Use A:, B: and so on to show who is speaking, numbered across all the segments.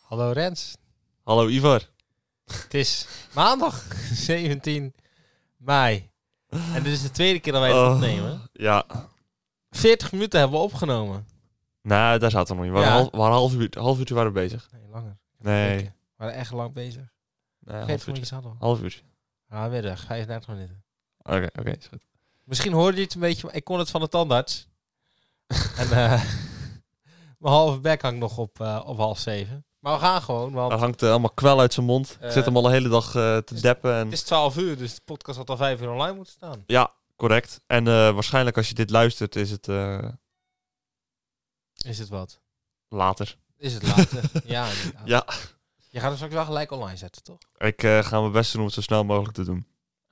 A: Hallo Rens,
B: Hallo Ivar.
A: het is maandag 17 mei. En dit is de tweede keer dat wij het
B: Oh,
A: opnemen.
B: Ja,
A: 40 minuten hebben we opgenomen.
B: nou daar zaten we nog niet. We waren,
A: Ja.
B: half, we waren half, uur, half uurtje waren we bezig.
A: Nee, langer.
B: Nee,
A: We waren echt lang bezig.
B: nee half
A: 40
B: uurtje.
A: minuten hadden we.
B: Half uurtje.
A: Ah, weer weg. 35 minuten.
B: Oké, oké. is goed.
A: Misschien hoorde je het een beetje, maar ik kon het van de tandarts. en eh, mijn halve bek hangt nog op, eh, op half zeven. Maar we gaan gewoon, want
B: Daar hangt eh, allemaal kwel uit zijn mond.
A: Eh,
B: ik zit hem al de hele dag eh, te
A: is-
B: deppen. En,
A: het is 12 uur, dus de podcast had al 5 uur online moeten staan.
B: Ja, correct. En eh, waarschijnlijk als je dit luistert is het eh,
A: Is het wat?
B: later.
A: Is het later? ja, inderdaad.
B: Ja.
A: Je gaat hem straks wel gelijk online zetten, toch?
B: Ik eh, ga mijn best doen om het zo snel mogelijk te doen.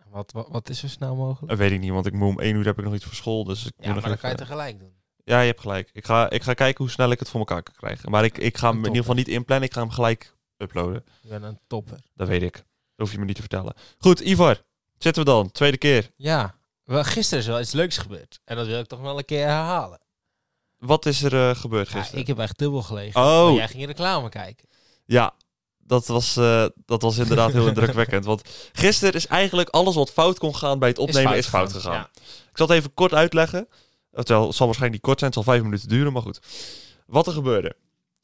A: Wat, wat, wat is zo snel mogelijk?
B: Dat weet ik niet, want ik moet om één uur heb ik nog iets voor school. Dus ik
A: Ja,
B: moet nog
A: maar dan kan je
B: even-
A: tegelijk doen.
B: Ja, je hebt gelijk. Ik ga, ik ga kijken hoe snel ik het voor elkaar kan krijgen. Maar ik, ik ga hem in
A: Top.
B: ieder geval niet inplannen. Ik ga hem gelijk uploaden.
A: Je bent een topper.
B: Dat weet ik. Dat hoef je me niet te vertellen. Goed, Ivar. Zitten we dan. Tweede keer.
A: Ja, wel, gisteren is wel iets leuks gebeurd. En dat wil ik toch wel een keer herhalen.
B: Wat is er eh, gebeurd
A: Ja,
B: gisteren?
A: ik heb echt dubbel gelegen.
B: Oh,
A: Maar
B: ja.
A: jij ging in reclame kijken.
B: Dat was, eh, dat was inderdaad heel indrukwekkend. Want gisteren is eigenlijk alles wat fout kon gaan bij het opnemen is fout, gegaan. Ik zal het even kort uitleggen. Eh, Het zal het zal waarschijnlijk niet kort zijn. Het zal vijf minuten duren, maar goed. Wat er gebeurde.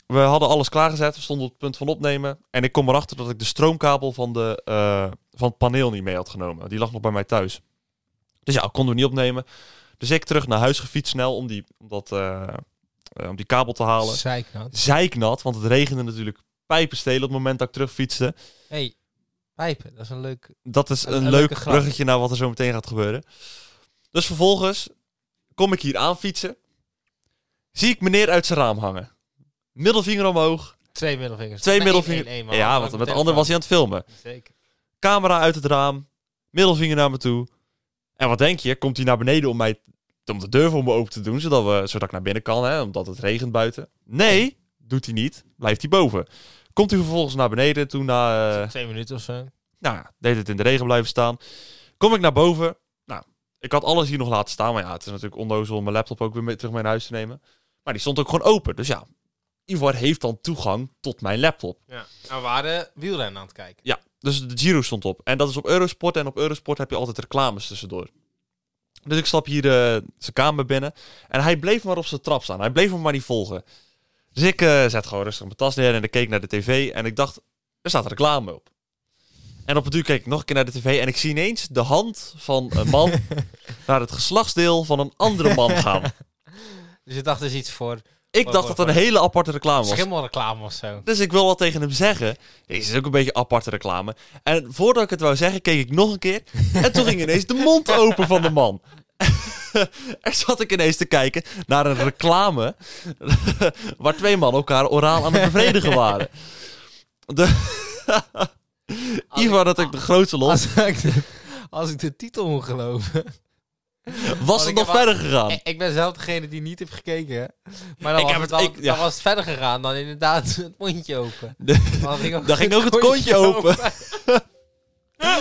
B: We hadden alles klaargezet. We stonden op het punt van opnemen. En ik kom erachter dat ik de stroomkabel van, de, eh, van het paneel niet mee had genomen. Die lag nog bij mij thuis. Dus ja, konden we niet opnemen. Dus ik terug naar huis gefietst snel om die, om dat, eh, eh, om die kabel te
A: Ja,
B: halen.
A: zeiknat.
B: Zeiknat, want het regende natuurlijk pijpenstelen op het moment dat ik terugfietste.
A: hey, pijpen, dat is een leuk...
B: Dat is
A: Een-
B: een,
A: een
B: leuk
A: leuke grap.
B: bruggetje naar wat er zo meteen gaat gebeuren. Dus vervolgens kom ik hier aan fietsen. Zie ik meneer uit zijn raam hangen. Middelvinger omhoog.
A: Twee middelvingers.
B: Twee
A: Nee, één,
B: middelvingers.
A: één, één, maar
B: Ja,
A: hang
B: want
A: op
B: met de
A: mijn
B: ander was hij
A: telefoon.
B: aan het filmen.
A: Zeker.
B: Camera uit het raam. Middelvinger naar me toe. En wat denk je? Komt hij naar beneden om, mij, om de deur voor me open te doen, zodat, we, zodat ik naar binnen kan, hè, omdat het regent buiten? Nee, doet hij niet. Blijft hij boven. Komt hij vervolgens naar beneden, toen naar... eh,
A: Twee minuten of zo.
B: nou ja, deed het in de regen blijven staan. Kom ik naar boven. Nou, ik had alles hier nog laten staan. Maar ja, het is natuurlijk onnozel om mijn laptop ook weer mee, terug mee naar huis te nemen. Maar die stond ook gewoon open. Dus ja, Ivar heeft dan toegang tot mijn laptop.
A: Ja. En we waren wielrennen aan het kijken.
B: Dus de Giro stond op. En dat is op Eurosport. En op Eurosport heb je altijd reclames tussendoor. Dus ik stap hier eh, zijn kamer binnen. En hij bleef maar op zijn trap staan. Hij bleef me maar niet volgen. Dus ik eh, zet gewoon rustig mijn tas neer en ik keek naar de tv. En ik dacht, er staat reclame op. En op het duur keek ik nog een keer naar de tv. En ik zie ineens de hand van een man naar het geslachtsdeel van een andere man gaan.
A: Dus ik dacht, dus iets voor
B: Ik dacht dat het een hele aparte reclame was.
A: schimmelreclame of zo.
B: Dus ik wil wat tegen hem zeggen. Deze is ook een beetje aparte reclame. En voordat ik het wou zeggen, keek ik nog een keer. En toen ging ineens de mond open van de man. en zat ik ineens te kijken naar een reclame. waar twee mannen elkaar oraal aan het bevredigen waren. De... Ivar had ik de grootste lol.
A: Als ik, de, als ik de titel moet geloven.
B: Was
A: ik
B: het nog
A: heb al-
B: verder gegaan?
A: Ik, ik ben zelf degene die niet heeft gekeken. hè. Maar dan,
B: Ik
A: was,
B: heb
A: het,
B: het-
A: al-
B: ik- ja.
A: dan was het verder gegaan dan inderdaad het mondje open.
B: De-
A: Dan ging ook,
B: Daar ging ook het kontje open.
A: Eh.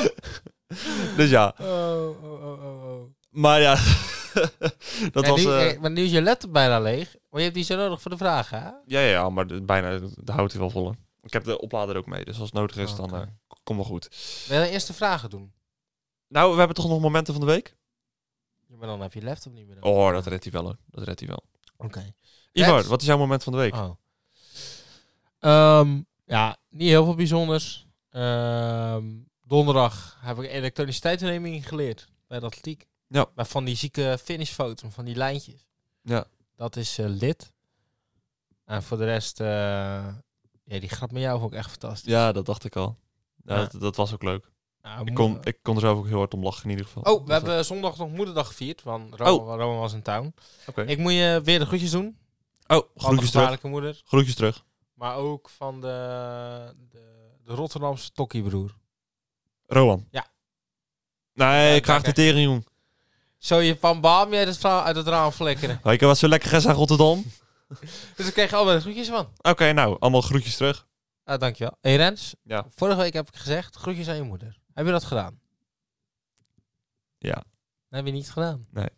B: dus ja,
A: Oh, oh, oh, oh, oh.
B: maar ja. dat
A: Ja,
B: was.
A: nu,
B: eh,
A: eh, Maar nu is je laptop bijna leeg. Maar je hebt die zo nodig voor de vragen, hè?
B: Ja, ja, ja, maar de- bijna, de houdt hij wel vol. hè. Ik heb de oplader ook mee, dus als het nodig is, dan eh,
A: Oh, Oké.
B: k- kom wel goed.
A: Wil je dan eerst de vragen doen?
B: Nou, we hebben toch nog momenten van de week?
A: Ja, maar dan heb je je laptop niet meer. dan.
B: Oh, dat redt hij wel hoor. Dat redt hij wel.
A: Oké.
B: Ivar,
A: Redt.
B: wat is jouw moment van de week?
A: Oh. Ehm, ja, niet heel veel bijzonders. Ehm, donderdag heb ik elektriciteitsneming geleerd bij de atletiek.
B: Ja.
A: Maar van die zieke finishfoto, van die lijntjes.
B: Ja.
A: Dat is eh, lit. En voor de rest, eh, ja, die grap met jou vond ik echt fantastisch.
B: Ja, dat dacht ik al. Ja,
A: Ja.
B: Dat, dat was ook leuk.
A: Nou,
B: Ik
A: mo-
B: kon, ik kon er zelf ook heel hard om lachen in ieder geval.
A: Oh, we
B: Dus dat-
A: hebben zondag nog moederdag gevierd, want Rome, Rome was in town.
B: Oh. Oké.
A: Ik moet je weer de groetjes doen.
B: Oh,
A: Van de
B: groetjes terug.
A: gevaarlijke moeder.
B: Groetjes terug.
A: Maar ook van de, de, de Rotterdamse tokkiebroer.
B: Rowan.
A: Ja.
B: Nee,
A: Ja,
B: ik krijg de
A: dank,
B: tering, jong.
A: Zou je van Baam jij dat vrouw uit het raam flikkeren?
B: Ik was zo lekker gisteren aan Rotterdam.
A: Dus ik kreeg allemaal de groetjes van.
B: Oké, nou, allemaal groetjes terug.
A: Ah, dankjewel. Hey Rens,
B: Ja.
A: vorige week heb ik gezegd, groetjes aan je moeder. Heb je dat gedaan?
B: Ja.
A: Dat heb je niet gedaan.
B: Nee.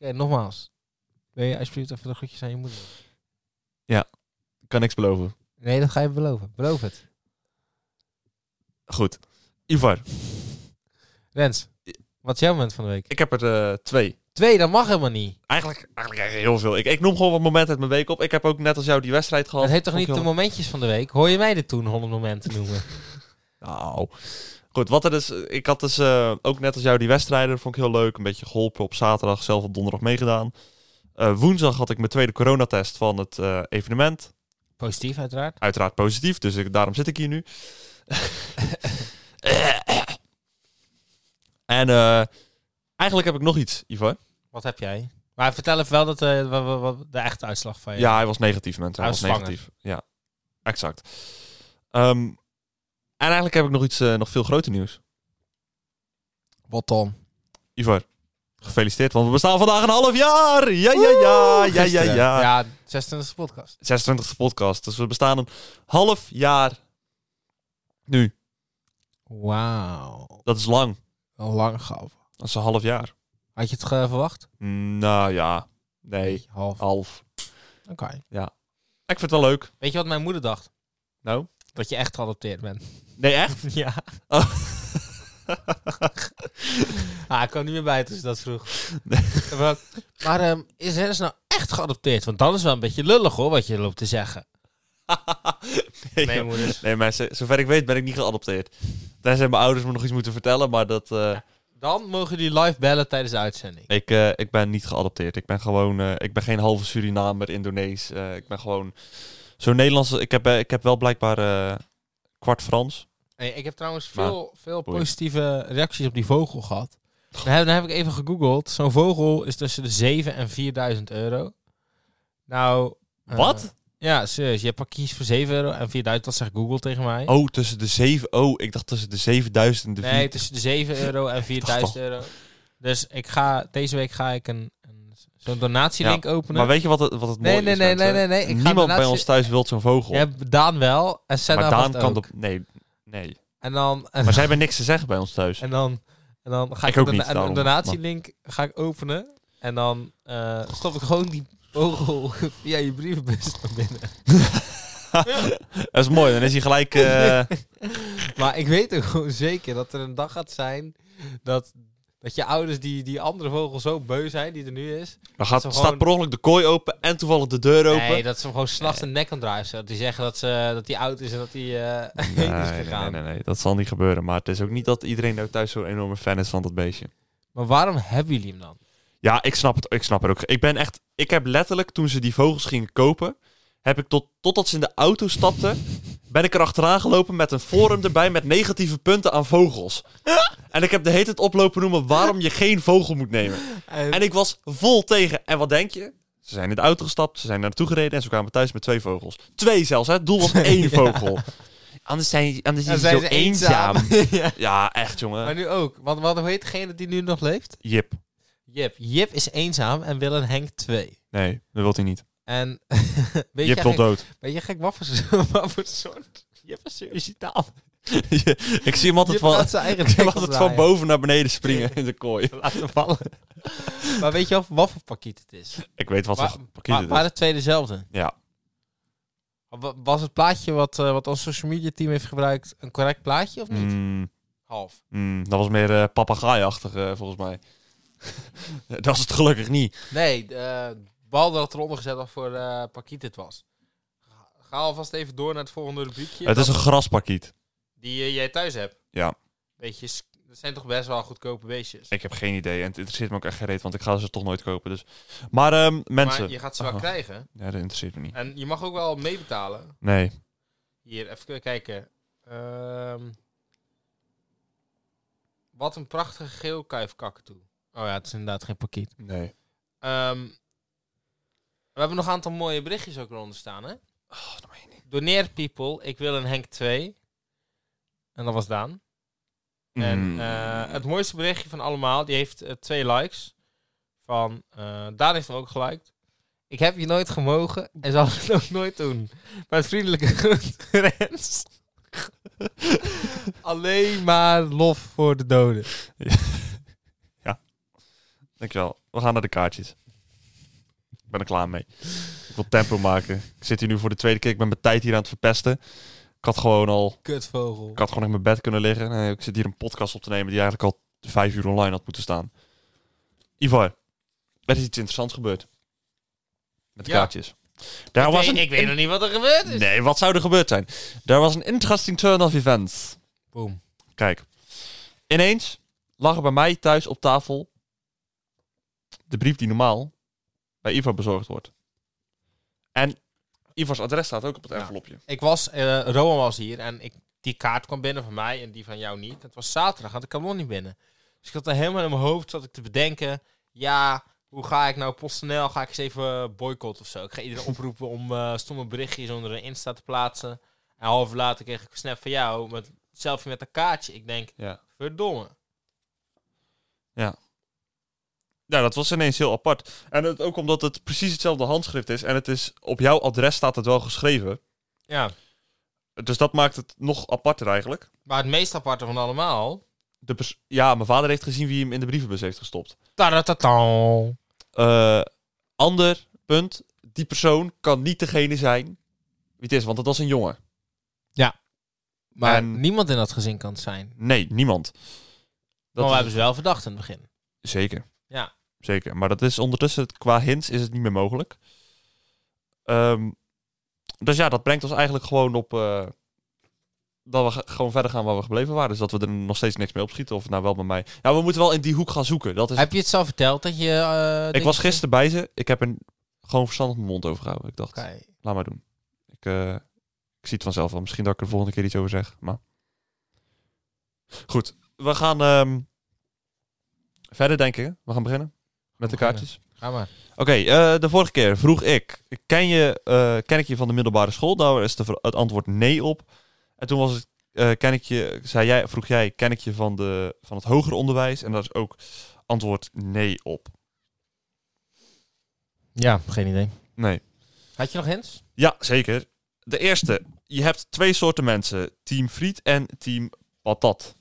A: Oké, nogmaals. Wil je alsjeblieft even de groetjes aan je moeder?
B: Kan niks beloven.
A: Nee, dat ga je beloven. Beloof het.
B: Goed. Ivar,
A: Rens, wat is jouw moment van de week?
B: ik heb er eh, twee.
A: Twee, dat mag helemaal niet.
B: Eigenlijk, eigenlijk heel veel. Ik, ik noem gewoon wat momenten uit mijn week op. Ik heb ook net als jou die wedstrijd gehad.
A: Dat heet toch
B: Vond
A: niet
B: ik
A: de
B: heel-
A: momentjes van de week? Hoor je mij dit toen 100 momenten noemen?
B: Nou, goed. Wat er dus, ik had dus eh, ook net als jou die wedstrijden. Dat vond ik heel leuk. Een beetje geholpen op zaterdag. Zelf op donderdag meegedaan. Eh, woensdag had ik mijn tweede coronatest van het eh, evenement.
A: Positief uiteraard.
B: Uiteraard positief, dus ik, daarom zit ik hier nu. en eh, eigenlijk heb ik nog iets, Ivar.
A: Wat heb jij? Maar vertel even wel dat, eh, wa- wa- wa- de echte uitslag van je.
B: Ja, hij was negatief, mensen. Hij
A: Hij
B: was
A: was zwanger.
B: negatief. Ja, exact. Ehm, en eigenlijk heb ik nog iets, eh, nog veel groter nieuws.
A: Wat dan?
B: Ivar, gefeliciteerd, want we bestaan vandaag een half jaar! Ja, ja, ja, ja, ja, ja.
A: Ja, 26e podcast.
B: 26e podcast, dus we bestaan een half jaar nu.
A: Wauw.
B: Dat is lang.
A: Een lang gaf.
B: Dat is een half jaar.
A: Had je het eh, verwacht?
B: Mm, Nou ja, nee,
A: Half.
B: half.
A: Oké.
B: Ik vind het wel leuk.
A: Weet je wat mijn moeder dacht?
B: Nou?
A: Dat je echt geadopteerd bent.
B: Nee, echt?
A: ja.
B: Oh.
A: Ah, ik kwam niet meer bij toen ze dat vroeg. Maar, maar ehm, is Dennis nou echt geadopteerd? Want dan is wel een beetje lullig hoor, wat je loopt te zeggen.
B: nee,
A: Nee,
B: joh.
A: moeders.
B: nee, maar z- zover ik weet ben ik niet geadopteerd. Tenzij mijn ouders me nog iets moeten vertellen, maar dat... eh,
A: Dan mogen jullie live bellen tijdens de uitzending.
B: Ik, eh, ik ben niet geadopteerd. Ik ben gewoon. eh, ik ben geen halve Surinamer, Indonees. Eh, ik ben gewoon. Zo'n Nederlandse. Ik heb, eh, ik heb wel blijkbaar eh, kwart Frans.
A: Hey, ik heb trouwens
B: Maar-
A: veel, veel
B: Boeien.
A: positieve reacties op die vogel gehad. Dan heb, dan heb ik even gegoogeld. Zo'n vogel is tussen de 7 en 4000 euro. Nou. eh,
B: Wat?
A: Ja, serieus. Je hebt kies voor 7 euro en 4000. Dat zegt Google tegen mij.
B: Oh, tussen de zeven. Oh, ik dacht tussen de 7000 en de
A: nee,
B: vier-
A: tussen de 7 euro en 4000 euro. Dus ik ga, deze week ga ik een, een, zo'n donatielink openen.
B: Maar weet je wat het, wat het
A: Nee,
B: mooie
A: nee,
B: is?
A: nee,
B: mensen?
A: nee, nee, nee. Ik ga
B: Niemand bij
A: donatie-
B: ons thuis wil zo'n vogel.
A: Je hebt Daan wel en Senna
B: maar Daan
A: Daan
B: kan dat. Nee, nee.
A: En dan, en,
B: Maar zij hebben niks te zeggen bij ons thuis.
A: en dan, en dan ga
B: Ik
A: ik,
B: ook
A: een,
B: niet,
A: een- een
B: daarom.
A: donatielink ga ik openen. En dan eh, stop ik gewoon die vogel via je brievenbus naar binnen.
B: dat is mooi. Dan is hij gelijk. eh,
A: Maar ik weet ook gewoon zeker dat er een dag gaat zijn dat, dat je ouders die, die andere vogel zo beu zijn, die er nu is.
B: dan gaat,
A: Zo
B: staat
A: gewoon-
B: per ongeluk de kooi open en toevallig de deur open.
A: Nee, dat ze hem gewoon s'nachts de nek aan draaien. zodat Die zeggen dat, ze, dat die oud is en dat die eh heen is
B: nee,
A: gegaan.
B: nee, nee, nee, dat zal niet gebeuren. Maar het is ook niet dat iedereen nou thuis zo'n enorme fan is van dat beestje.
A: Maar waarom hebben jullie hem dan?
B: Ja, ik snap het. Ik snap het ook. Ik ben echt. Ik heb letterlijk toen ze die vogels gingen kopen, heb ik tot, totdat ze in de auto stapten, ben ik er achteraan gelopen met een forum erbij met negatieve punten aan vogels. En ik heb de hele tijd oplopen noemen waarom je geen vogel moet nemen. En ik was vol tegen. En wat denk je? Ze zijn in de auto gestapt, ze zijn naartoe gereden en ze kwamen thuis met twee vogels. Twee zelfs, hè? Het doel was één vogel. Anders zijn, anders
A: Dan
B: is hij
A: zijn
B: zo
A: ze
B: eenzaam.
A: ja.
B: Ja, echt jongen.
A: Maar nu ook. Want wat hoe heet degene die nu nog leeft?
B: Jip.
A: Jip. Jip is eenzaam en wil een Henk 2.
B: Nee, dat wil hij niet.
A: En weet, je
B: Jip wil
A: gek,
B: dood.
A: weet je gek wat voor, wat voor soort... Jip is suicidaal.
B: ik zie hem altijd
A: Jip
B: van,
A: laat zijn eigen
B: ik zie hem
A: nek
B: altijd van
A: omdraaien.
B: boven naar beneden springen in de kooi.
A: laten vallen. maar weet je wel wat voor pakiet het is?
B: Ik weet wat
A: Maar-
B: voor pakiet
A: Maar,
B: het
A: waren
B: is.
A: het twee dezelfde?
B: Ja.
A: Wa- Was het plaatje wat, eh, wat ons social media team heeft gebruikt een correct plaatje of niet?
B: Mm,
A: Half.
B: mm, dat was meer eh papegaaiachtig eh, volgens mij. dat is het gelukkig niet.
A: Nee, de eh, bal dat eronder gezet was voor eh pakiet het was. Ga- Ga alvast even door naar het volgende rubriekje.
B: het is een graspakiet.
A: Die eh, jij thuis hebt.
B: Ja.
A: Beetjes, dat zijn toch best wel goedkope beestjes.
B: Ik heb geen idee en het interesseert me ook echt geen reet, want ik ga ze toch nooit kopen. Dus. Maar ehm, mensen...
A: Maar je gaat ze wel
B: Aha.
A: krijgen.
B: Ja, dat interesseert me niet.
A: En je mag ook wel meebetalen.
B: Nee.
A: Hier, even kijken. Ehm, wat een prachtige geel kuifkakatoe. Oh ja, het is inderdaad geen pakiet.
B: Nee.
A: Ehm, we hebben nog een aantal mooie berichtjes ook eronder staan, hè?
B: Oh, dat meen je niet.
A: Doneer people, ik wil een Henk 2. En dat was Daan. En
B: Mm.
A: eh, het mooiste berichtje van allemaal, die heeft eh, twee likes. Van, eh Daan heeft hem ook geliked. Ik heb je nooit gemogen en zal het ook nooit doen. Met vriendelijke groet, Rens. Alleen maar lof voor de doden.
B: Dankjewel. We gaan naar de kaartjes. ben er klaar mee. Ik wil tempo maken. Ik zit hier nu voor de tweede keer. Ik ben mijn tijd hier aan het verpesten. Ik had gewoon al...
A: Kutvogel.
B: Ik had gewoon in mijn bed kunnen liggen. Nee, ik zit hier een podcast op te nemen die eigenlijk al vijf uur online had moeten staan. Ivar, er is iets interessants gebeurd. Met de
A: Ja.
B: kaartjes. Daar
A: ik
B: was
A: weet,
B: een
A: ik weet nog niet wat er gebeurd is.
B: Nee, wat zou er gebeurd zijn? Daar was een interesting turn of events.
A: Boom.
B: Kijk, ineens lag er bij mij thuis op tafel de brief die normaal bij Ivar bezorgd wordt. En Ivars adres staat ook op het
A: Ja.
B: envelopje.
A: Ik was, eh Rowan was hier en ik, die kaart kwam binnen van mij en die van jou niet. Het was zaterdag, had ik kanon niet binnen. Dus ik had er helemaal in mijn hoofd zat ik te bedenken. Ja, hoe ga ik nou PostNL? Ga ik eens even boycotten of zo? Ik ga iedereen oproepen om eh, stomme berichtjes onder een Insta te plaatsen. En half uur later kreeg ik een snap van jou met selfie met een kaartje. Ik denk,
B: Ja.
A: verdomme.
B: Ja, dat was ineens heel apart. En het, ook omdat het precies hetzelfde handschrift is. En het is op jouw adres staat het wel geschreven.
A: Ja,
B: Dus dat maakt het nog aparter eigenlijk.
A: maar het meest aparte van allemaal...
B: De pers- ja, mijn vader heeft gezien wie hem in de brievenbus heeft gestopt.
A: Tadatatam.
B: Eh, ander punt. Die persoon kan niet degene zijn wie het is, want het was een jongen.
A: Maar
B: En-
A: niemand in dat gezin kan het zijn.
B: Nee, niemand. dus
A: Maar
B: Dat
A: we
B: is-
A: hebben ze wel verdacht in het begin.
B: Zeker.
A: Ja.
B: Zeker. Maar dat is ondertussen, qua hints, is het niet meer mogelijk. Ehm, dus ja, dat brengt ons eigenlijk gewoon op... eh, dat we ge- gewoon verder gaan waar we gebleven waren. Dus dat we er nog steeds niks mee opschieten. Of het nou wel bij mij... Ja, we moeten wel in die hoek gaan zoeken. Dat is...
A: Heb je het zelf verteld dat je... eh,
B: Ik
A: dingen-
B: was gisteren bij ze. Ik heb er gewoon verstandig mijn mond over gehouden. Ik dacht,
A: Oké.
B: laat maar doen. Ik, eh, ik zie het vanzelf wel. Misschien dat ik er de volgende keer iets over zeg. Maar goed, we gaan ehm, verder denken. We gaan beginnen met de
A: Beginnen.
B: kaartjes.
A: Ga maar.
B: Oké, eh, de vorige keer vroeg ik: ken, je, eh, ken ik je van de middelbare school? Daar is de ver- het antwoord nee op. En toen was het, eh, ken ik je, zei jij, vroeg jij: ken ik je van, de, van het hoger onderwijs? En daar is ook antwoord nee op.
A: Ja, geen idee.
B: Nee.
A: Had je nog hints?
B: Ja, zeker. De eerste. Je hebt twee soorten mensen. Team friet en team patat.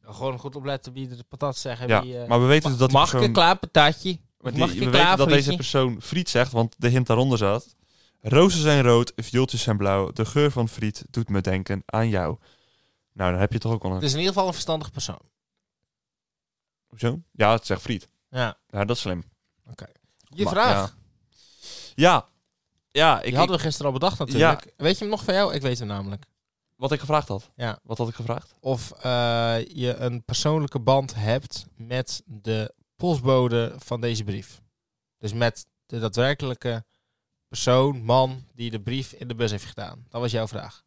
A: Gewoon goed opletten wie de patat zeggen.
B: Ja,
A: wie, eh,
B: maar we weten
A: mag,
B: dus dat die
A: mag ik
B: persoon...
A: een klaar patatje?
B: maar die-
A: mag ik
B: we
A: een
B: weten
A: klaar
B: dat deze
A: frietje?
B: persoon friet zegt, want de hint daaronder zat. Rozen zijn rood, viooltjes zijn blauw. De geur van friet doet me denken aan jou. Nou, dan heb je toch ook al
A: Het
B: een...
A: is in ieder geval een verstandig persoon.
B: Hoezo? Ja, het zegt friet.
A: Ja.
B: Ja, dat is slim.
A: Je
B: Maar-
A: vraag.
B: Ja. Ja, ja ik,
A: Die
B: ik-
A: hadden we gisteren al bedacht natuurlijk. Weet je hem nog van jou? Ik weet hem namelijk.
B: wat ik gevraagd had.
A: Ja.
B: Wat had ik gevraagd?
A: Of eh, je een persoonlijke band hebt met de postbode van deze brief. Dus met de daadwerkelijke persoon, man, die de brief in de bus heeft gedaan. Dat was jouw vraag.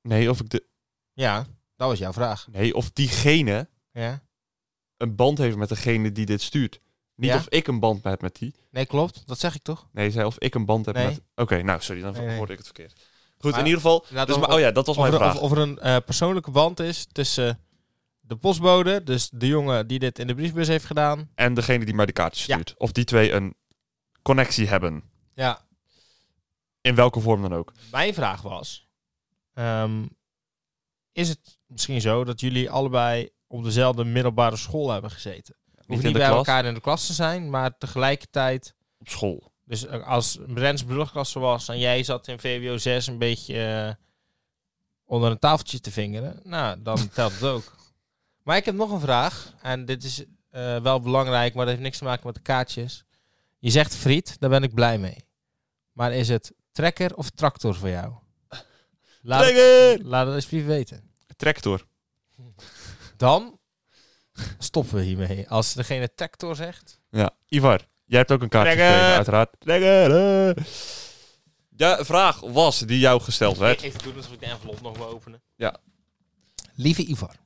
B: Nee, of, ik de,
A: Ja, dat was jouw vraag.
B: nee, of diegene
A: Ja.
B: een band heeft met degene die dit stuurt. Niet
A: Ja?
B: of ik een band heb met die.
A: Nee, klopt. Dat zeg ik toch?
B: Nee, zei of ik een band heb
A: Nee.
B: met... Oké, nou, sorry, dan
A: Nee, nee.
B: hoorde ik het verkeerd. Goed,
A: Maar-
B: in ieder geval...
A: Laat
B: Dus,
A: Nou, dan
B: maar,
A: op-
B: oh ja, dat was
A: of,
B: mijn
A: er,
B: vraag.
A: of, of er een eh, persoonlijke band is tussen de postbode, dus de jongen die dit in de briefbus heeft gedaan.
B: En degene die mij de kaartjes
A: Ja.
B: stuurt. Of die twee een connectie hebben.
A: Ja,
B: In welke vorm dan ook.
A: mijn vraag was: ehm, Is het misschien zo dat jullie allebei op dezelfde middelbare school hebben gezeten?
B: Niet
A: Hoeft
B: in
A: niet
B: de
A: bij
B: klas,
A: elkaar in de klas te zijn, maar tegelijkertijd.
B: op school.
A: Dus eh, als Brens brugklasse was en jij zat in VWO 6 een beetje eh, onder een tafeltje te vingeren, nou, dan telt het ook. Maar ik heb nog een vraag, en dit is eh, wel belangrijk, maar dat heeft niks te maken met de kaartjes. Je zegt friet, daar ben ik blij mee. Maar is het trekker of tractor voor jou? Laat het-
B: Trekker!
A: laat het alsjeblieft weten.
B: Tractor.
A: Dan stoppen we hiermee. Als degene tractor zegt,
B: Ja. Ivar, jij hebt ook een kaartje
A: Trekker!
B: gekregen, uiteraard. Trekker! eh. De vraag was die jou gesteld werd.
A: Even doen alsof ik de envelop nog wil openen.
B: Ja.
A: Lieve Ivar,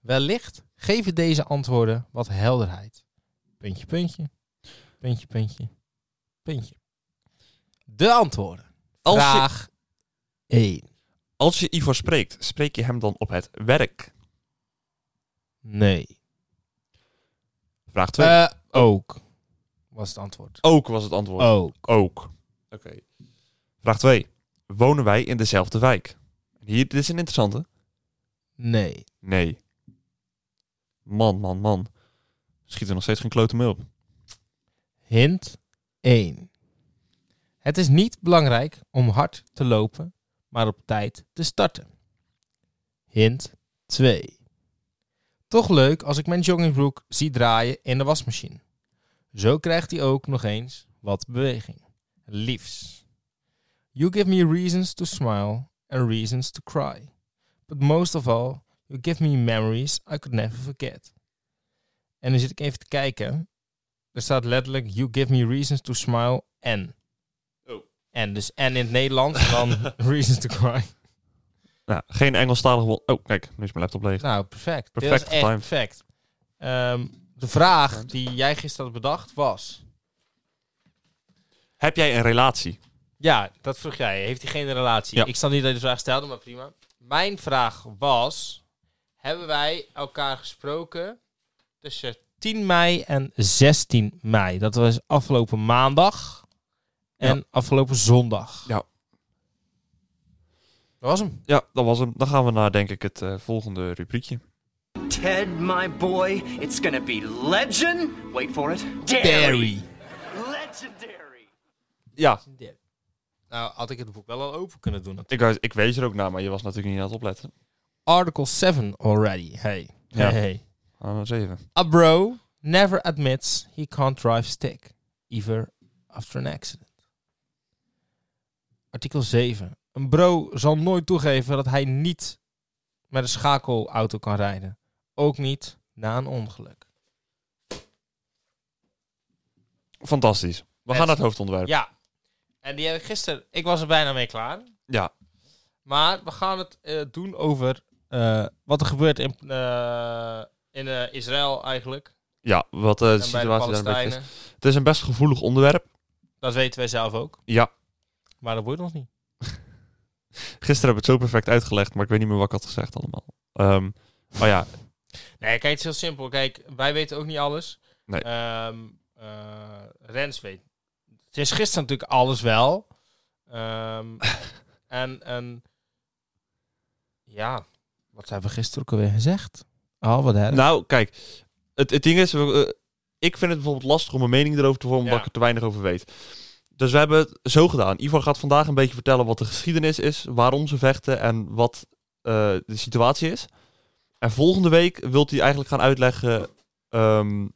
A: wellicht geven deze antwoorden wat helderheid. Puntje, puntje. Puntje, puntje. Puntje. De antwoorden.
B: Als je-
A: Vraag 1.
B: Als je Ivar spreekt, spreek je hem dan op het werk?
A: Nee.
B: Vraag 2.
A: Eh, ook. Was het antwoord.
B: ook was het antwoord.
A: Ook.
B: Ook. Oké. Vraag 2. Wonen wij in dezelfde wijk? Hier, dit is een interessante.
A: Nee.
B: Nee. Man, man, man. Schiet er nog steeds geen klote mee op.
A: Hint 1. Het is niet belangrijk om hard te lopen, maar op tijd te starten. Hint 2. Toch leuk als ik mijn joggingbroek zie draaien in de wasmachine. Zo krijgt hij ook nog eens wat beweging. Liefs. You give me reasons to smile and reasons to cry. But most of all, you give me memories I could never forget. En nu zit ik even te kijken. Er staat letterlijk, you give me reasons to smile en.
B: Oh.
A: En dus en in het Nederlands dan reasons to cry.
B: Nou, geen Engelstalig woord. Oh, kijk, nu is mijn laptop leeg.
A: Nou, perfect. Dit
B: Perfect
A: was echt
B: getimed.
A: perfect. Ehm, de vraag die jij gisteren had bedacht was...
B: Heb jij een relatie?
A: Ja, dat vroeg jij. Heeft diegene een relatie?
B: Ja.
A: Ik snap niet dat je de vraag stelde, maar prima. Mijn vraag was... Hebben wij elkaar gesproken tussen 10 mei en 16 mei? Dat was afgelopen maandag en afgelopen zondag.
B: Ja.
A: Dat was hem.
B: Ja, dat was hem. Dan gaan we naar, denk ik, het eh, volgende rubriekje.
C: Ted, my boy, it's gonna be legend. Wait for it. Legendary.
B: Ja,
A: Nou, had ik het boek wel al open kunnen doen.
B: ik, wou- ik wees er ook naar, maar je was natuurlijk niet aan het opletten.
A: Article 7 already. Hey.
B: Ja.
A: Hey, hey.
B: Aan eens even.
A: A bro never admits he can't drive stick, even after an accident. Artikel 7. Een bro zal nooit toegeven dat hij niet met een schakelauto kan rijden. Ook niet na een ongeluk.
B: Fantastisch. We
A: Best.
B: gaan naar het hoofdontwerp.
A: Ja, en die heb ik gisteren... Ik was er bijna mee klaar.
B: Ja.
A: Maar we gaan het eh, doen over eh, wat er gebeurt in, eh, in eh, Israël eigenlijk.
B: Ja, wat eh, de
A: en bij de
B: situatie daar een beetje is.
A: Palestijnen.
B: Het is een best gevoelig onderwerp.
A: Dat weten wij zelf ook.
B: Ja,
A: Maar dat boeit ons niet.
B: gisteren heb ik het zo perfect uitgelegd, maar ik weet niet meer wat ik had gezegd allemaal. Ehm, oh ja,
A: Nee, kijk, het is heel simpel. Kijk, wij weten ook niet alles.
B: Nee.
A: Ehm, eh, Rens weet. Het is gisteren natuurlijk alles wel. Ehm, en, en ja, wat hebben we gisteren ook alweer gezegd? Oh, wat erg.
B: nou kijk, het, het ding is, we- eh, ik vind het bijvoorbeeld lastig om een mening erover te vormen,
A: Ja.
B: omdat ik er te weinig over weet. Dus we hebben het zo gedaan. Ivor gaat vandaag een beetje vertellen wat de geschiedenis is, waarom ze vechten en wat eh, de situatie is. En volgende week wilt hij eigenlijk gaan uitleggen ehm,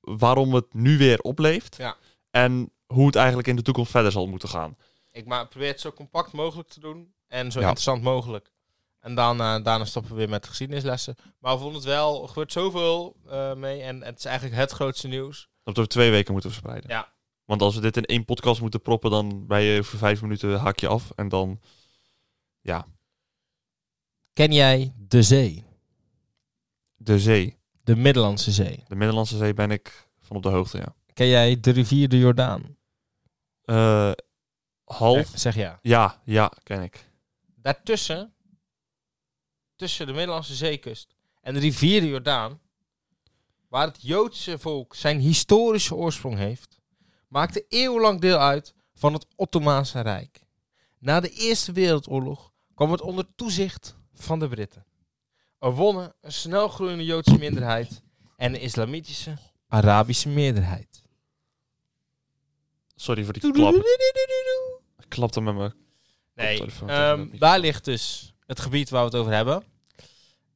B: waarom het nu weer opleeft.
A: Ja.
B: En hoe het eigenlijk in de toekomst verder zal moeten gaan.
A: Ik ma- probeer het zo compact mogelijk te doen en zo
B: Ja.
A: interessant mogelijk. En dan, eh, daarna stoppen we weer met de geschiedenislessen. Maar we vonden het wel, er gebeurt zoveel eh, mee en het is eigenlijk het grootste nieuws.
B: Dat we twee weken moeten verspreiden.
A: Ja.
B: Want als we dit in één podcast moeten proppen, dan ben je voor vijf minuten haak je af. En dan,
A: Ken jij de zee?
B: de zee.
A: De Middellandse Zee.
B: De Middellandse Zee ben ik van op de hoogte, ja.
A: Ken jij de rivier de Jordaan? Eh,
B: Eh, half?
A: Zeg, zeg ja.
B: Ja, ja, ken ik.
A: Daartussen, tussen de Middellandse zeekust en de rivier de Jordaan, waar het Joodse volk zijn historische oorsprong heeft, maakte eeuwenlang deel uit van het Ottomaanse Rijk. Na de Eerste Wereldoorlog kwam het onder toezicht van de Britten. Er wonnen een snelgroeiende Joodse minderheid en een islamitische Arabische meerderheid.
B: Sorry voor die klap. Ik klapte met me.
A: Nee,
B: Koptelefoon
A: ehm,
B: tegen de microfoon.
A: daar ligt dus het gebied waar we het over hebben.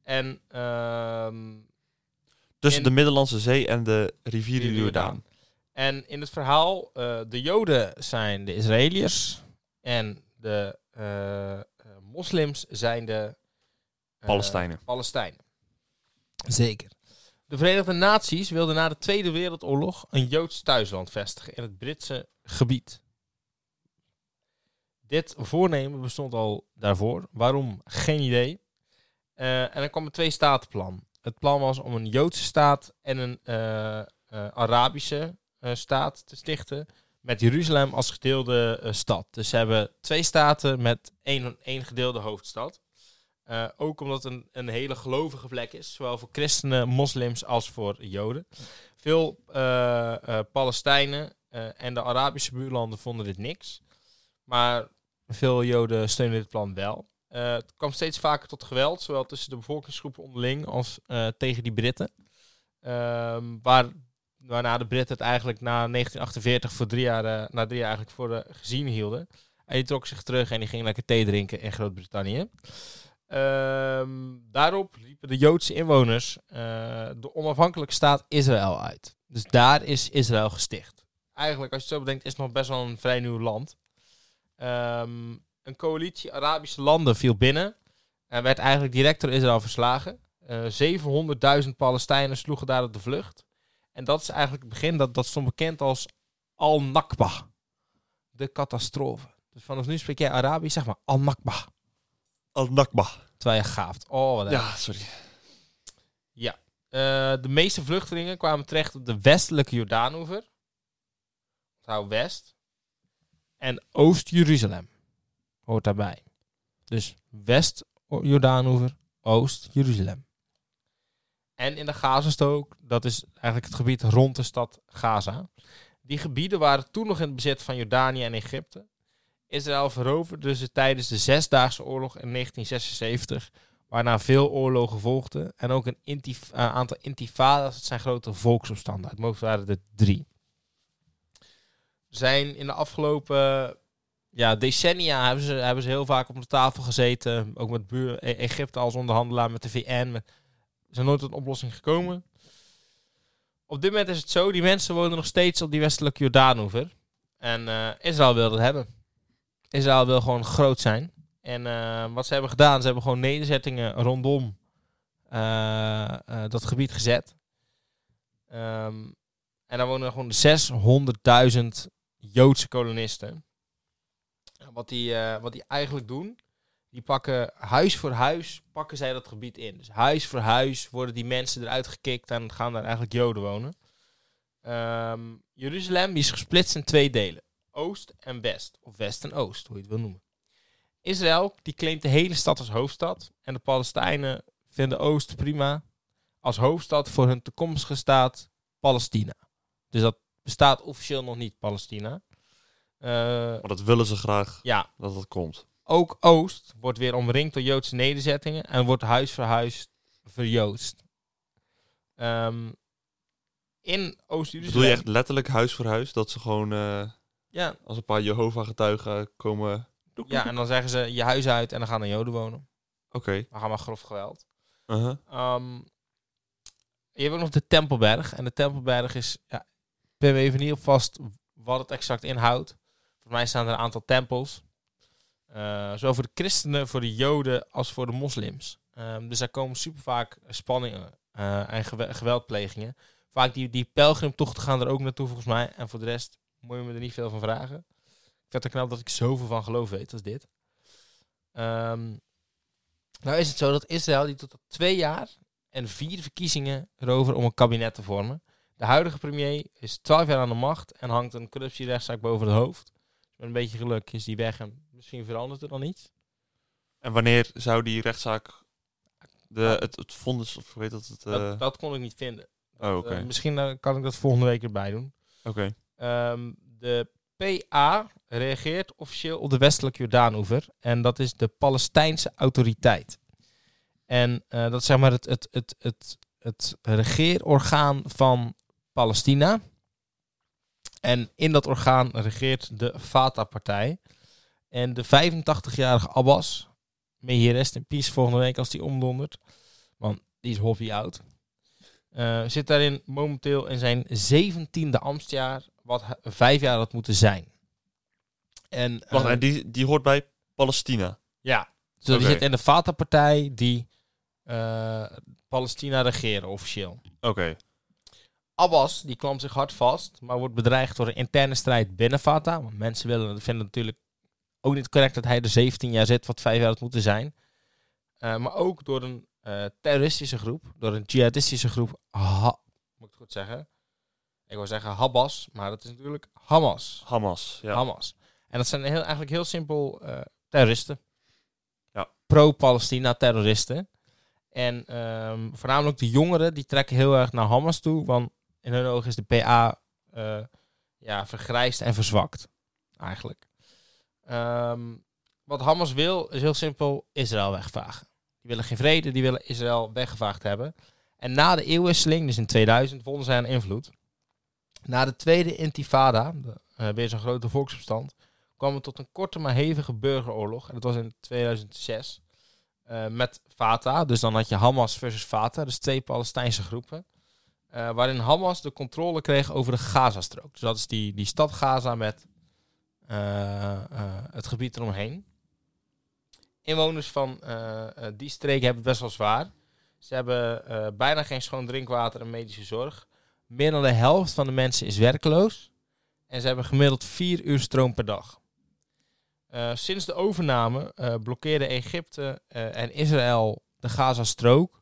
A: En ehm,
B: Tussen
A: In-
B: de Middellandse Zee en de rivier de
A: Rivier
B: Jordaan.
A: En in het verhaal, eh, de Joden zijn de Israëliërs en de eh, eh, moslims zijn de eh,
B: Palestijnen.
A: Palestijnen. Zeker. De Verenigde Naties wilden na de Tweede Wereldoorlog een Joods thuisland vestigen in het Britse gebied. Dit voornemen bestond al daarvoor. Waarom? Geen idee. Eh, en dan kwam een twee-statenplan. Het plan was om een Joodse staat en een eh, eh, Arabische eh, staat te stichten. Met Jeruzalem als gedeelde eh, stad. Dus ze hebben twee staten met één, één gedeelde hoofdstad. Eh, ook omdat het een, een hele gelovige plek is. Zowel voor christenen, moslims als voor joden. Veel eh, eh, Palestijnen eh, en de Arabische buurlanden vonden dit niks. Maar veel joden steunden dit plan wel. Eh, het kwam steeds vaker tot geweld, zowel tussen de bevolkingsgroepen onderling als eh, tegen die Britten. Ehm, waar waarna de Britten het eigenlijk na 1948 voor drie jaar, eh, na drie jaar eigenlijk voor de gezien hielden. En die trok zich terug en die ging lekker thee drinken in Groot-Brittannië. Ehm, daarop liepen de Joodse inwoners eh, de onafhankelijke staat Israël uit. Dus daar is Israël gesticht. Eigenlijk, als je het zo bedenkt, is het nog best wel een vrij nieuw land. Ehm, een coalitie Arabische landen viel binnen en werd eigenlijk direct door Israël verslagen. Eh 700.000 Palestijnen sloegen daar op de vlucht. En dat is eigenlijk het begin, dat, dat stond bekend als Al-Nakba. De catastrofe. Dus vanaf nu spreek jij Arabisch, zeg maar Al-Nakba.
B: Al-Nakba.
A: Terwijl je gaaft. Oh, wat erg.
B: Ja, sorry.
A: Eh, de meeste vluchtelingen kwamen terecht op de westelijke Jordaanoever. Onthoud West. En Oost-Jeruzalem. Hoort daarbij. Dus West-Jordaanoever, Oost-Jeruzalem. En in de Gazastook, dat is eigenlijk het gebied rond de stad Gaza. Die gebieden waren toen nog in het bezit van Jordanië en Egypte. Israël veroverde ze tijdens de Zesdaagse Oorlog in 1976 waarna veel oorlogen volgden. En ook een intif eh, aantal intifadas, het zijn grote volksopstanden. Het mogen waren er drie. Zijn in de afgelopen ja, decennia hebben ze, hebben ze heel vaak op de tafel gezeten. Ook met buur, E- Egypte als onderhandelaar, met de VN. met- Er zijn nooit tot een oplossing gekomen. Op dit moment is het zo, die mensen wonen nog steeds op die westelijke Jordaanoever. En eh, Israël wil dat hebben. Israël wil gewoon groot zijn. En eh, wat ze hebben gedaan, ze hebben gewoon nederzettingen rondom eh, eh, dat gebied gezet. Ehm, en daar wonen gewoon 600.000 Joodse kolonisten. En Wat die, eh, wat die eigenlijk doen, die pakken huis voor huis, pakken zij dat gebied in. Dus huis voor huis worden die mensen eruit gekikt en gaan daar eigenlijk Joden wonen. Ehm, Jeruzalem die is gesplitst in twee delen. Oost en West. Of West en Oost, hoe je het wil noemen. Israël die claimt de hele stad als hoofdstad. En de Palestijnen vinden Oost prima als hoofdstad voor hun toekomstige staat Palestina. Dus dat bestaat officieel nog niet, Palestina. Eh,
B: Maar dat willen ze graag
A: ja,
B: dat dat komt.
A: ook Oost wordt weer omringd door Joodse nederzettingen en wordt huis voor huis verjoodst. Ehm, in Oost-Jeruzalem.
B: Bedoel je echt letterlijk huis voor huis? Dat ze gewoon eh,
A: Ja,
B: als een paar Jehovah-getuigen komen...
A: ja, en dan zeggen ze je huis uit en dan gaan de Joden wonen.
B: Oké.
A: We gaan maar grof geweld.
B: Uh-huh.
A: Ehm, je hebt ook nog de Tempelberg. En de Tempelberg is... Ja, ik ben me even niet op vast wat het exact inhoudt. Voor mij staan er een aantal tempels. Eh zowel voor de christenen, voor de joden als voor de moslims. Ehm, dus daar komen super vaak spanningen eh, en gewe- geweldplegingen. Vaak die, die pelgrimtochten gaan er ook naartoe volgens mij. En voor de rest moet je me er niet veel van vragen. Ik vind het knap dat ik zoveel van geloof weet als dit. Ehm, nou is het zo dat Israël die tot op twee jaar en vier verkiezingen erover om een kabinet te vormen. De huidige premier is twaalf jaar aan de macht en hangt een corruptierechtszaak boven het hoofd. Dus met een beetje geluk is die weg en misschien verandert er dan iets.
B: En wanneer zou die rechtszaak... De, het, het vonnis, of weet dat het... eh,
A: Dat, dat kon ik niet vinden.
B: Oh, oké.
A: Eh, misschien eh, kan ik dat volgende week erbij doen.
B: Oké.
A: Ehm, de PA reageert officieel op de westelijke Jordaanoever. En dat is de Palestijnse Autoriteit. En eh, dat is zeg maar het, het, het, het, het regeerorgaan van Palestina. En in dat orgaan regeert de Fatah-partij. En de 85-jarige Abbas, mee hier rest in peace volgende week als die omdondert. Want die is hobby oud. Eh, zit daarin momenteel in zijn zeventiende ambtsjaar, wat h- vijf jaar had moeten zijn. En,
B: Wacht,
A: eh,
B: en die, die hoort bij Palestina.
A: ja. Dus die
B: Oké.
A: zit in de Fatah-partij die eh, Palestina regeren officieel.
B: Oké.
A: Abbas die klampt zich hard vast, maar wordt bedreigd door een interne strijd binnen Fatah. Want mensen willen, vinden natuurlijk ook niet correct dat hij er 17 jaar zit, wat vijf jaar had moeten zijn. Eh, maar ook door een eh, terroristische groep, door een jihadistische groep. Ha- moet ik het goed zeggen? Ik wil zeggen Habas, maar dat is natuurlijk Hamas.
B: Hamas. Ja.
A: Hamas. En dat zijn heel, eigenlijk heel simpel eh, terroristen.
B: Ja.
A: Pro-Palestina terroristen. En ehm, voornamelijk de jongeren, die trekken heel erg naar Hamas toe. Want in hun ogen is de PA eh, ja, vergrijsd en verzwakt. Eigenlijk. Ehm, wat Hamas wil, is heel simpel Israël wegvagen. Die willen geen vrede, die willen Israël weggevaagd hebben. En na de eeuwwisseling, dus in 2000, wonnen zij aan invloed. Na de tweede intifada, de, eh, weer zo'n grote volksopstand, kwam het tot een korte maar hevige burgeroorlog. En dat was in 2006 eh, met Fatah. Dus dan had je Hamas versus Fatah, dus twee Palestijnse groepen. eh, waarin Hamas de controle kreeg over de Gazastrook. Dus dat is die, die stad Gaza met eh, eh, het gebied eromheen. Inwoners van eh, eh, die streek hebben het best wel zwaar. Ze hebben eh, bijna geen schoon drinkwater en medische zorg. Meer dan de helft van de mensen is werkloos. En ze hebben gemiddeld vier uur stroom per dag. Eh, sinds de overname eh blokkeerden Egypte eh, en Israël de Gazastrook.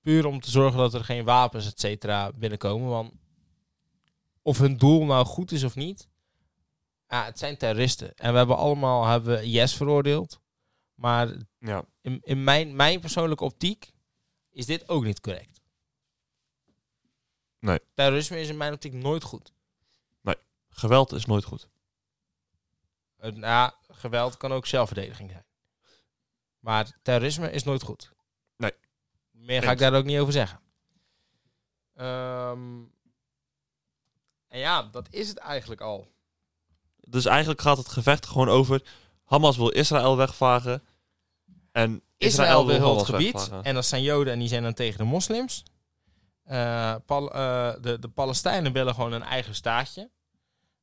A: Puur om te zorgen dat er geen wapens, et cetera, binnenkomen. Want of hun doel nou goed is of niet. ah, het zijn terroristen. En we hebben allemaal hebben we IS veroordeeld. Maar
B: Ja.
A: in, in mijn, mijn persoonlijke optiek is dit ook niet correct.
B: Nee.
A: Terrorisme is in mijn optiek nooit goed.
B: Geweld is nooit goed.
A: Eh, nou, geweld kan ook zelfverdediging zijn. Maar terrorisme is nooit goed.
B: Nee.
A: Meer ga
B: Eens.
A: ik daar ook niet over zeggen. Ehm, en ja, dat is het eigenlijk al.
B: Dus eigenlijk gaat het gevecht gewoon over... Hamas wil Israël wegvagen. En
A: Israël
B: Israël,
A: wil heel het
B: Hamas
A: gebied.
B: wegvagen.
A: En dat zijn Joden en die zijn dan tegen de moslims. Eh, Pal- eh, de, de Palestijnen willen gewoon een eigen staatje.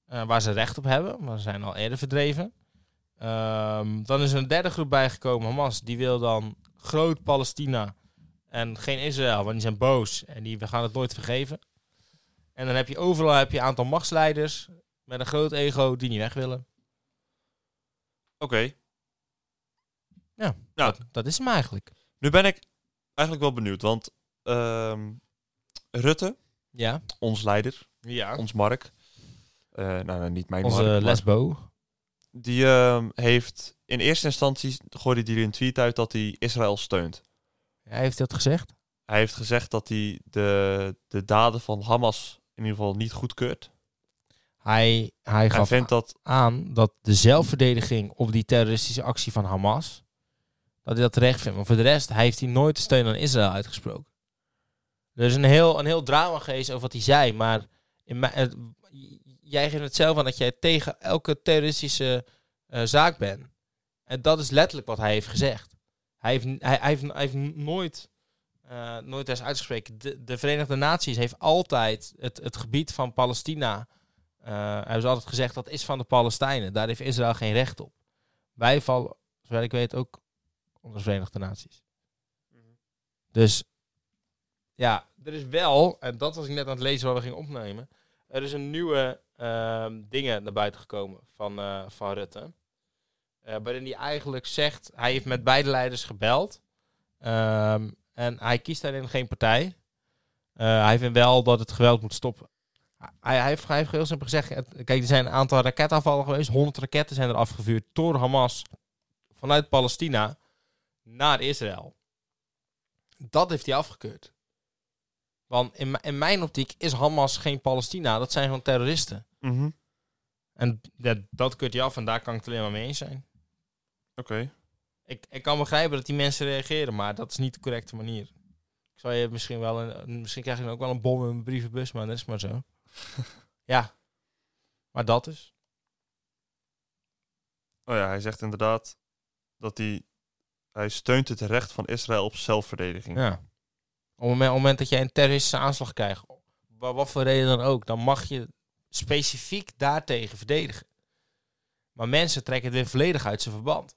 A: eh, waar ze recht op hebben. Maar ze zijn al eerder verdreven. Ehm, dan is er een derde groep bijgekomen, Hamas. Die wil dan groot Palestina en geen Israël. Want die zijn boos en die, we gaan het nooit vergeven. En dan heb je overal heb je een aantal machtsleiders met een groot ego die niet weg willen.
B: Oké,
A: Ja,
B: Ja.
A: Dat, dat is hem eigenlijk.
B: nu ben ik eigenlijk wel benieuwd. Want ehm, Rutte,
A: Ja.
B: ons leider,
A: ja.
B: ons Mark... eh, nou, nou, niet mijn
A: Onze
B: Mark. maar-
A: lesbo.
B: Die ehm, heeft in eerste instantie gooide hij een tweet uit dat hij Israël steunt.
A: Hij heeft dat gezegd.
B: Hij heeft gezegd dat hij de, de daden van Hamas in ieder geval niet goedkeurt.
A: Hij, hij
B: Hij
A: gaf
B: vindt dat
A: aan dat de zelfverdediging op die terroristische actie van Hamas, dat hij dat terecht vindt. Maar voor de rest, hij heeft hij nooit de steun aan Israël uitgesproken. Er is een heel, een heel drama geweest over wat hij zei, maar in mijn- het- jij geeft het zelf aan dat jij tegen elke terroristische eh, zaak bent. En dat is letterlijk wat hij heeft gezegd. Hij heeft, n- hij, hij heeft, hij heeft nooit, eh nooit eens uitgesproken. De, de Verenigde Naties heeft altijd het, het gebied van Palestina eh hebben ze altijd gezegd dat is van de Palestijnen. Daar heeft Israël geen recht op. Wij vallen, zover ik weet, ook onder de Verenigde Naties. Dus ja, er is wel, en dat was ik net aan het lezen waar we gingen opnemen. Er is een nieuwe ehm, dingen naar buiten gekomen van, eh, van Rutte. Eh, waarin hij eigenlijk zegt, hij heeft met beide leiders gebeld. Ehm, en hij kiest daarin geen partij. Eh, hij vindt wel dat het geweld moet stoppen. Hij, hij, heeft, hij heeft heel simpel gezegd: het- kijk, er zijn een aantal raketaanvallen geweest. 100 raketten zijn er afgevuurd door Hamas vanuit Palestina naar Israël. Dat heeft hij afgekeurd. Want in, m- in mijn optiek is Hamas geen Palestina. Dat zijn gewoon terroristen.
B: Mhm.
A: En dat, dat keurt hij af en daar kan ik het alleen maar mee eens zijn.
B: Oké.
A: Ik, ik kan begrijpen dat die mensen reageren, maar dat is niet de correcte manier. Ik zal je misschien wel een, misschien krijg je dan ook wel een bom in mijn brievenbus, maar dat is maar zo. ja, maar dat dus. is.
B: Oh ja, hij zegt inderdaad dat hij, hij steunt het recht van Israël op zelfverdediging.
A: Ja. Op het moment, op het moment dat jij een terroristische aanslag krijgt, wa- wat voor reden dan ook, dan mag je specifiek daartegen verdedigen. Maar mensen trekken het weer volledig uit zijn verband.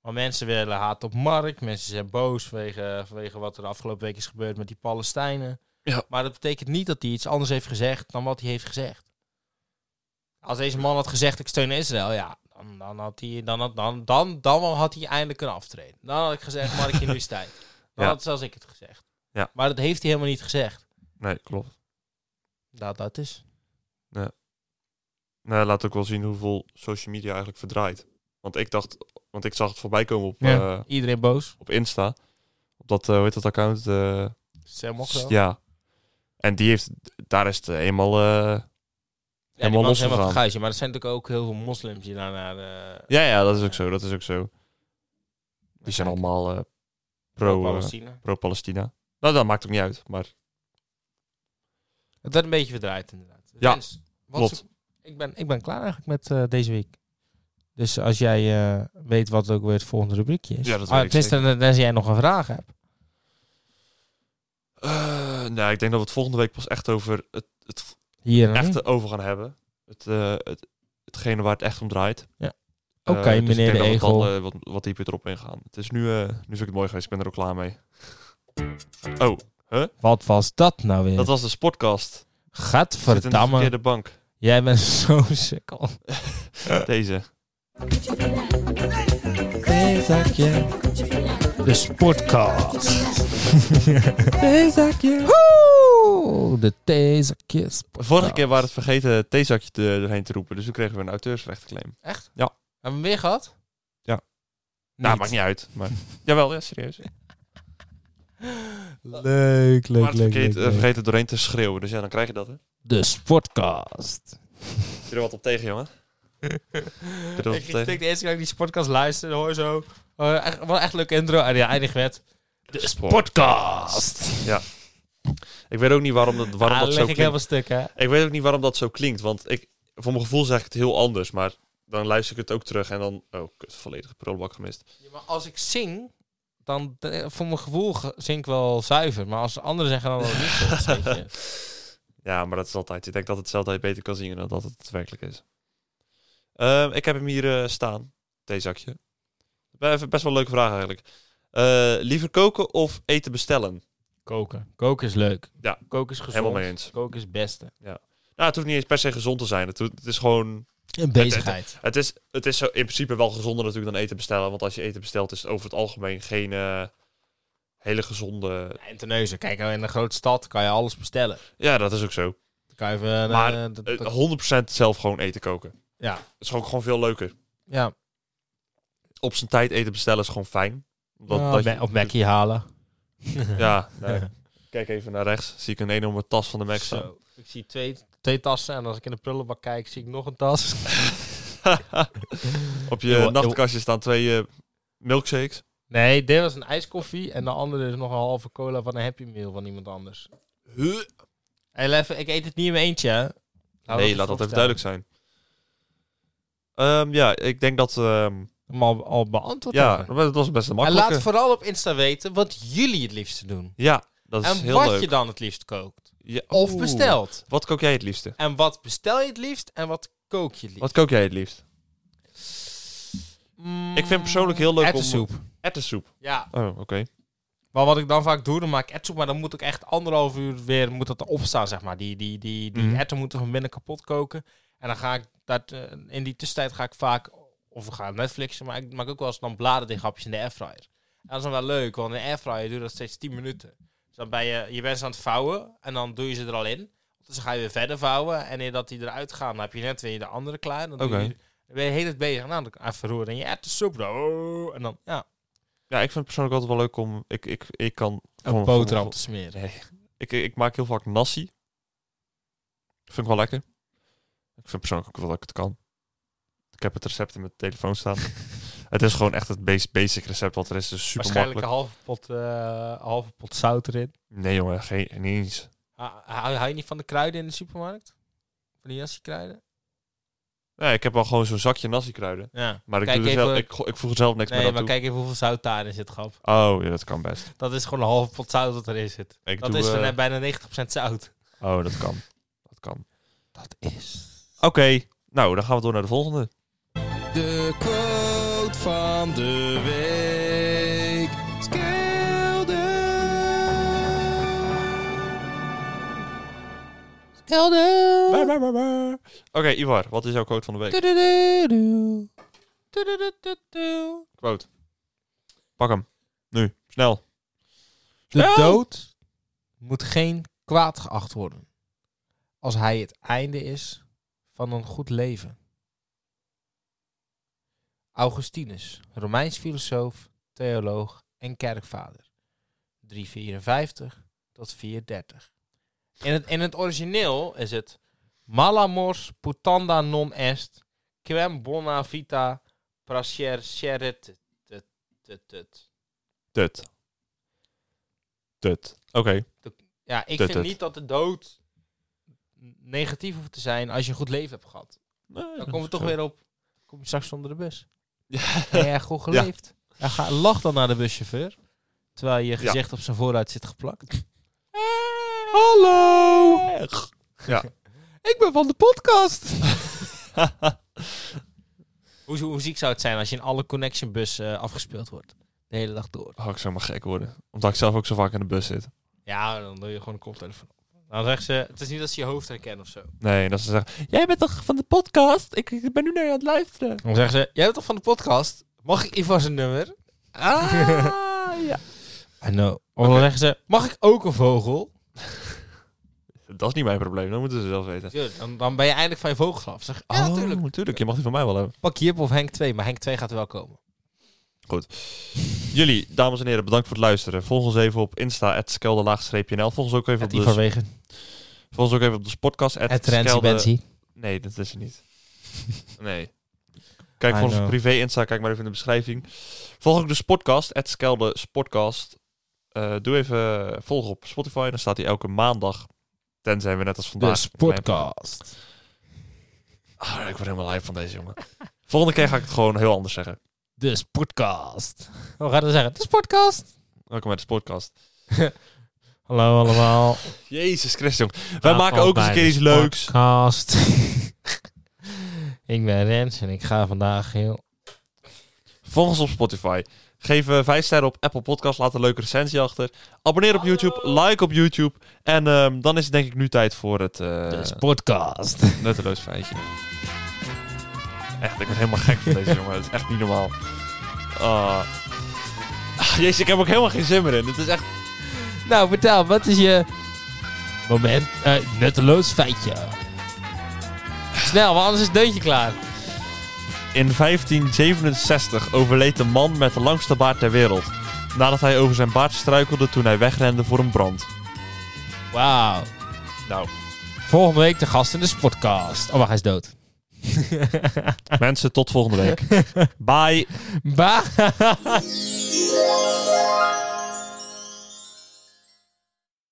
A: Maar mensen willen haat op markt, mensen zijn boos vanwege, vanwege wat er de afgelopen week is gebeurd met die Palestijnen.
B: Ja.
A: Maar dat betekent niet dat hij iets anders heeft gezegd dan wat hij heeft gezegd. Als deze man had gezegd ik steun Israël, ja, dan, dan had hij dan, had- dan, dan, dan had hij eindelijk kunnen aftreden. Dan had ik gezegd, Mark, je nu is tijd. Dan
B: Ja.
A: had zelfs ik het gezegd.
B: Ja.
A: Maar dat heeft hij helemaal niet gezegd.
B: Nee, klopt.
A: Dat, dat is.
B: Nou, hij laat ook wel zien hoeveel social media eigenlijk verdraait. Want ik dacht, want ik zag het voorbij komen op,
A: Ja.
B: eh,
A: Iedereen boos.
B: op Insta. Op dat, eh, hoe heet dat account? Eh,
A: Sam ook wel.
B: ja. En die heeft, daar is het eenmaal... eh,
A: Ja, die man
B: helemaal
A: is helemaal
B: losgegaan.
A: verguisje. Maar er zijn natuurlijk ook heel veel moslims die daarna... eh,
B: Ja, ja, dat is ook zo. Dat is ook zo. Die zijn
A: kijken.
B: allemaal eh, pro, eh,
A: Palestina.
B: pro-Palestina. nou, dat maakt ook niet uit. Maar
A: Het werd een beetje verdraaid inderdaad.
B: Ja,
A: Rens, wat
B: klopt.
A: zo- ik, ben, ik ben klaar eigenlijk met eh, deze week. Dus als jij eh, weet wat ook weer het volgende rubriekje is.
B: Ja, dat
A: Ah,
B: weet ik
A: tenminste, dan als jij nog een vraag hebt.
B: Eh, nou, ik denk dat we het volgende week pas echt over het
A: Hier. hè?
B: echte over gaan hebben. Het, eh, het, hetgene waar het echt om draait.
A: Ja.
B: Eh,
A: Oké,
B: dus ik
A: meneer
B: denk
A: de
B: dat we dan,
A: Egel.
B: eh, wat, wat dieper erop ingaan. Het is nu, eh, nu vind ik het mooi geweest. Ik ben er ook klaar mee. Oh,
A: Wat was dat nou weer?
B: dat was de sportcast. Zit in de
A: Gadverdamme.
B: verkeerde bank.
A: Jij bent zo sukkel.
B: Deze.
A: De sportcast. theezakje. Woe! De theezakjes.
B: Vorige keer waren het vergeten theezakje te, erheen te roepen. Dus toen kregen we een auteursrechtenclaim.
A: Echt?
B: Ja.
A: Hebben we meer gehad?
B: Ja. Nou, maakt niet uit. Maar... Jawel, ja, serieus.
A: Leuk, leuk,
B: maar het
A: leuk,
B: verkeerd-
A: leuk,
B: eh,
A: leuk.
B: vergeten doorheen te schreeuwen. Dus ja, dan krijg je dat, hè.
A: De sportcast.
B: Heb je er wat op tegen, jongen?
A: ik
B: dat
A: ging
B: tegen?
A: denk de eerste keer dat ik die sportcast luisterde, hoor zo. eh, echt, wel echt leuk intro. Ah, En ja, eindig werd. De
B: Sport.
A: sportcast.
B: Ik weet ook niet waarom dat, waarom
A: Ah,
B: dat
A: leg
B: zo
A: ik
B: klinkt.
A: helemaal stuk, hè?
B: Ik weet ook niet waarom dat zo klinkt, want ik, voor mijn gevoel zeg ik het heel anders, maar dan luister ik het ook terug en dan... Oh, kut, volledige prullenbak gemist.
A: Ja, maar als ik zing, dan eh, voor mijn gevoel ge- zing ik wel zuiver. Maar als anderen zeggen dan dat het niet zo is, weet je.
B: Ja, maar dat is altijd... Ik denk dat het zelf altijd beter kan zien dan dat het werkelijk is. Ehm, ik heb hem hier eh, staan, theezakje. Be- even Best wel een leuke vraag eigenlijk. Eh, liever koken of eten bestellen?
A: Koken. Koken is leuk.
B: Ja,
A: Koken is gezond.
B: helemaal mee eens.
A: Koken is het beste.
B: Nou, het hoeft niet eens per se gezond te zijn. Het, hoeft- het is gewoon...
A: Een bezigheid.
B: Het is, het is zo in principe wel gezonder natuurlijk dan eten bestellen, want als je eten bestelt is het over het algemeen geen eh, hele gezonde...
A: En teneuzen. Kijk, nou, in een grote stad kan je alles bestellen.
B: Ja, dat is ook zo.
A: Dan kan je even... eh,
B: Maar,
A: eh, dat-
B: Eh,
A: dat-
B: 100% zelf gewoon eten koken.
A: ja.
B: Het is ook gewoon veel leuker.
A: ja.
B: Op zijn tijd eten bestellen is gewoon fijn. Omdat-
A: Ja,
B: dat
A: Oh, me-
B: je-
A: Of Mackie halen.
B: Ja, nee. kijk even naar rechts. Zie ik een enorme tas van de Mac staan.
A: Zo. Ik zie twee, twee tassen. En als ik in de prullenbak kijk, zie ik nog een tas.
B: Op je
A: Eeuw, eeuw.
B: nachtkastje staan twee eh, milkshakes.
A: Nee, dit was een ijskoffie. En de andere is nog een halve cola van een Happy Meal van iemand anders. Hey, even, ik eet het niet in mijn eentje, hè? Laat
B: nee, laat dat even duidelijk zijn. Ehm, ja, ik denk dat... ehm,
A: Maar al, al beantwoord
B: ja,
A: hebben.
B: dat was best een
A: En
B: makkelijke.
A: laat vooral op Insta weten wat jullie het liefste doen.
B: Ja, dat is
A: En
B: heel
A: wat
B: leuk.
A: je dan het liefst kookt.
B: Ja,
A: Of
B: oeh.
A: bestelt.
B: Wat kook jij het liefste?
A: En wat bestel je het liefst en wat kook je het liefst?
B: Wat kook jij het liefst?
A: Mm,
B: Ik vind persoonlijk heel leuk om-
A: erwtensoep.
B: Ettensoep.
A: Ja,
B: Oh, oké.
A: maar wat ik dan vaak doe, dan maak ik erwtensoep. Maar dan moet ik echt anderhalf uur weer moet dat opstaan, zeg maar. Die, die, die, die
B: Mhm.
A: erwten moeten van binnen kapot koken. En dan ga ik dat... eh, in die tussentijd ga ik vaak... Of we gaan Netflixen, maar ik maak ook wel eens dan bladerdeeghapjes in de airfryer. En dat is dan wel leuk, want in de airfryer doe je dat steeds 10 minuten. Dus dan ben je, je bent ze aan het vouwen en dan doe je ze er al in. Dus dan ga je weer verder vouwen en nadat die eruit gaan, dan heb je net weer de andere klaar. Dan, doe
B: Oké.
A: je, dan ben je heel het bezig. Nou, dan even roeren en je hebt de soep. Oh, en dan ja,
B: Ja, ik vind het persoonlijk altijd wel leuk om... Ik, ik, ik kan...
A: een boterham te smeren.
B: Nee. Ik, ik maak heel vaak nasi. Vind ik wel lekker. Ik vind persoonlijk ook wel dat ik het kan. Ik heb het recept in mijn telefoon staan. het is gewoon echt het bas- basic recept wat er is. Dus super
A: Waarschijnlijk een
B: makkelijk.
A: halve pot, eh, halve pot zout erin.
B: Nee jongen, geen, niet eens.
A: Ha- Hou, hou je niet van de kruiden in de supermarkt? Van die jassie kruiden?
B: Nee, ik heb wel gewoon zo'n zakje nasi kruiden.
A: Ja.
B: Maar ik,
A: Kijk
B: doe er
A: even-
B: zelf, ik, go- ik voeg er zelf niks
A: Nee,
B: meer
A: maar
B: aan toe.
A: kijk even hoeveel zout daarin zit, grap.
B: Oh, ja, dat kan best.
A: Dat is gewoon een halve pot zout dat erin zit.
B: Ik
A: dat
B: doe,
A: is
B: eh,
A: bijna- bijna 90% zout.
B: Oh, dat kan. Dat kan.
A: Dat is...
B: Oké, nou dan gaan we door naar de volgende.
A: De quote van de week. Skelder.
B: Bah,
A: Skelder.
B: bah, bah, bah. Oké, Ivar, wat is jouw quote van de week?
A: Tudududu. Tudududu.
B: Quote. Pak hem. Nu, snel.
A: De
B: Snel!
A: dood moet geen kwaad geacht worden. Als hij het einde is van een goed leven. Augustinus, Romeins filosoof, theoloog en kerkvader. 354 tot 430. In het, in het origineel is het... Malamors putanda non est, quem bona vita pracereret.
B: Tut. Tut. Oké.
A: Ja, ik
B: Tut, Eh,
A: vind
B: tut.
A: niet dat de dood negatief hoeft te zijn als je een goed leven hebt gehad.
B: Nee,
A: Dan komen we toch weer op. Kom je straks onder de bus?
B: Ja.
A: Heb jij goed geleefd? Ja, ga, lach dan naar de buschauffeur. Terwijl je
B: Ja.
A: gezicht op zijn voorruit zit geplakt. Eh.
B: Hallo!
A: Ik ben van de podcast. hoe, hoe ziek zou het zijn als je in alle connection bussen afgespeeld wordt? De hele dag door.
B: Oh, ik zou maar gek worden. Omdat ik zelf ook zo vaak in de bus zit.
A: Ja, dan doe je gewoon een koptelefoon op. Dan zegt ze, het is niet dat ze je hoofd herkennen of zo.
B: Nee, dat ze zeggen... Jij bent toch van de podcast? Ik, ik ben nu naar je aan het luisteren.
A: Dan zeggen ze, jij bent toch van de podcast? Mag ik Ivan zijn nummer?
B: Ah, ja.
A: I know. Of dan zeggen ze, mag ik ook een vogel?
B: Dat is niet mijn probleem. Dat moeten ze zelf weten.
A: Dude, dan, dan ben je eindelijk van je vogels af. Zeg, "Oh." ja, natuurlijk.
B: natuurlijk. Je mag die van mij wel hebben.
A: Pak Jip of Henk 2, maar Henk 2 gaat wel komen.
B: Jullie, dames en heren, bedankt voor het luisteren. Volg ons even op Insta, skelderlaag-nl. Volg ons ook even op
A: dus.
B: de...
A: Wegen.
B: Volg ons ook even op de podcast,
A: Het Rensie Bensie.
B: Nee, dat is het niet. nee. Kijk
A: I
B: voor onze
A: know.
B: privé Insta, kijk maar even in de beschrijving. Volg ook de Sportcast, at Skelde Sportcast. Eh, doe even eh, volg op Spotify, dan staat hij elke maandag. Tenzij we net als
A: Dus.
B: vandaag... Ah, ik word helemaal lijf van deze jongen. Volgende keer ga ik het gewoon heel anders zeggen.
A: De Sportcast. Hoe gaat dat zeggen? De Sportcast.
B: Welkom bij de Sportcast.
A: Hallo allemaal.
B: Jezus Christus, jongen. Wij maken ook eens een keer iets leuks.
A: Podcast. ik ben Rens en ik ga vandaag heel...
B: Volg ons op Spotify. Geef eh, vijf sterren op Apple Podcast. Laat een leuke recensie achter. Abonneer op YouTube. Like op YouTube. En ehm, dan is het denk ik nu tijd voor het eh,
A: De Sportcast.
B: nutteloos feitje. Echt, ik ben helemaal gek van deze jongen. Het is echt niet normaal. Ah. Ah, jezus, ik heb ook helemaal geen zin meer in. Het is echt...
A: Nou, vertel, wat is je. Moment, eh, nutteloos feitje. Snel, want anders is het deuntje klaar.
B: In 1567 overleed de man met de langste baard ter wereld. Nadat hij over zijn baard struikelde toen hij wegrende voor een brand.
A: Wauw.
B: Nou,
A: Volgende week de gast in de podcast. Oh, maar hij is dood.
B: mensen, tot volgende week. Bye.
A: Bye.